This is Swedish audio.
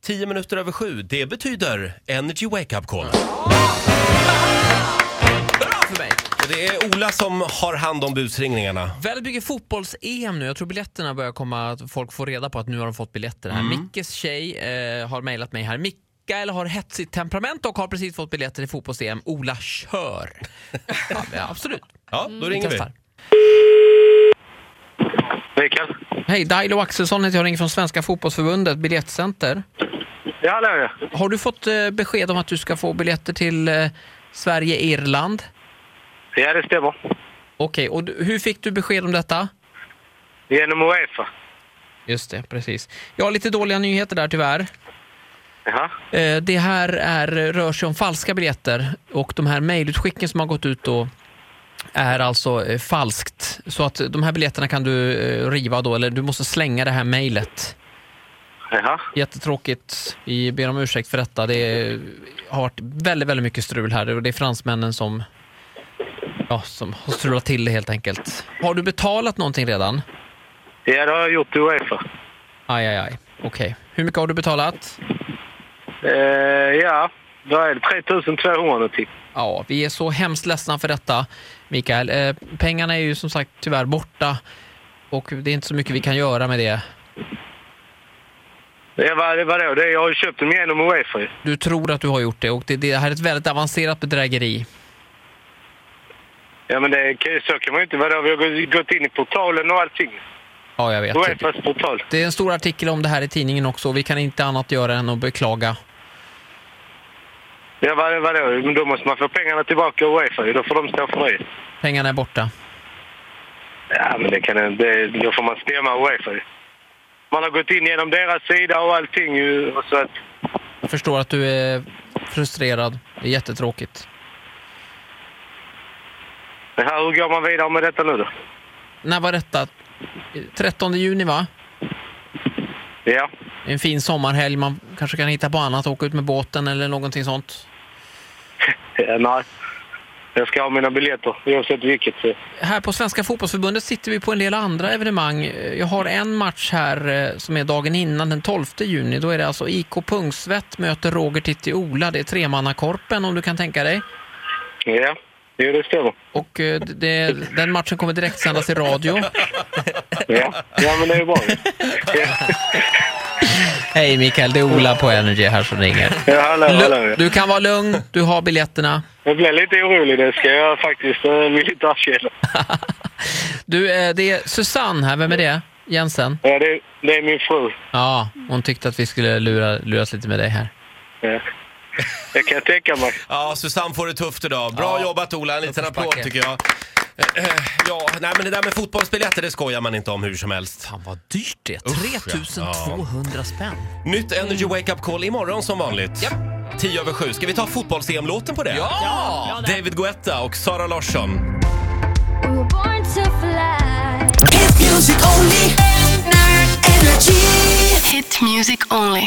Tio minuter över sju, det betyder Energy Wake Up Call. Bra för mig! Och det är Ola som har hand om busringningarna. Väldigt mycket fotbolls-EM nu. Jag tror biljetterna börjar komma, att folk får reda på att nu har de fått biljetter här. Mm. Mickes tjej eh, har mejlat mig här. Mikael har hetsigt temperament och har precis fått biljetter i fotbolls-EM. Ola, kör! ja, men absolut. Ja, då ringer vi. Mm. testar. Mikael? Hej, Dailo Axelsson heter jag. ringer från Svenska Fotbollsförbundet, biljettcenter. Ja, hallå ja. Har du fått eh, besked om att du ska få biljetter till eh, Sverige-Irland? Ja, det stämmer. Okej, och du, hur fick du besked om detta? Genom Uefa. Just det, precis. Jag har lite dåliga nyheter där tyvärr. Jaha. Eh, Det här är, rör sig om falska biljetter och de här mejlutskicken som har gått ut då är alltså eh, falskt. Så att de här biljetterna kan du eh, riva då, eller du måste slänga det här mejlet. Jaha. Jättetråkigt. Vi ber om ursäkt för detta. Det är- har varit väldigt, väldigt mycket strul här och det är fransmännen som, ja, som har strulat till det helt enkelt. Har du betalat någonting redan? Ja, det har jag gjort till Uefa. Aj, aj, aj. Okej. Hur mycket har du betalat? Eh, ja, vad är det? 3200 någonting. Ja, vi är så hemskt ledsna för detta, Mikael. Eh, pengarna är ju som sagt tyvärr borta och det är inte så mycket vi kan göra med det. Ja, vad, vadå? Det, jag har ju köpt dem genom Uefa ju. Du tror att du har gjort det och det, det här är ett väldigt avancerat bedrägeri. Ja, men det, kan- så kan man ju inte. Vadå? Vi har gå- gått in i portalen och allting. Ja, jag vet. Uefas portal. Det är en stor artikel om det här i tidningen också och vi kan inte annat göra än att beklaga. Ja, vad, vadå? Men då måste man få pengarna tillbaka av Uefa ju. Då får de stå för det. Pengarna är borta. Ja, men det kan det, Då får man stämma Uefa ju. Man har gått in genom deras sida och allting ju. och Så att, Jag förstår att du är frustrerad. Det är jättetråkigt. det här, hur går man vidare med detta nu då? När var detta? 13 juni, va? Ja. En fin sommarhelg. Man kanske kan hitta på annat. Åka ut med båten eller någonting sånt. Eh, Nej. Jag ska ha mina biljetter oavsett vilket. så- Här på Svenska Fotbollsförbundet sitter vi på en del andra evenemang. Jag har en match här eh, som är dagen innan, den 12 juni. Då är det alltså IK Pungsvett möter Roger Titti Ola. Det är tremannakorpen om du kan tänka dig. Ja, jo, det stämmer. Och eh, det, den matchen kommer direkt sändas i radio. Ja, ja men det är ju bra. Ja, Hej Mikael, det är Ola på Energy här som ringer. ja hallå, hallå. Lu- Du kan vara lugn, du har biljetterna. Jag blev lite orolig, det ska jag faktiskt eh, villigt erkänna. Du, eh, det är Susanne här, vem är det? Jensen? Ja, det, det är min fru. Ja, hon tyckte att vi skulle lura, luras lite med dig här. Ja. Det kan jag tänka mig. Ja, Susanne får det tufft idag. Bra Ja. jobbat Ola, en liten Uppförsbacke. applåd tycker jag. Eh, eh, Ja, nej men det där med fotbollsbiljetter, det skojar man inte om hur som helst. Fan vad dyrt det är, Usch, ja. 3200 spänn. Nytt Energy Wake Up Call imorgon som vanligt. Japp. 10 över 7. Ska vi ta fotbolls-EM-låten på det? Ja! David Guetta och Sara Larsson. We were born to fly. Hit music only. Energy. Hit music only.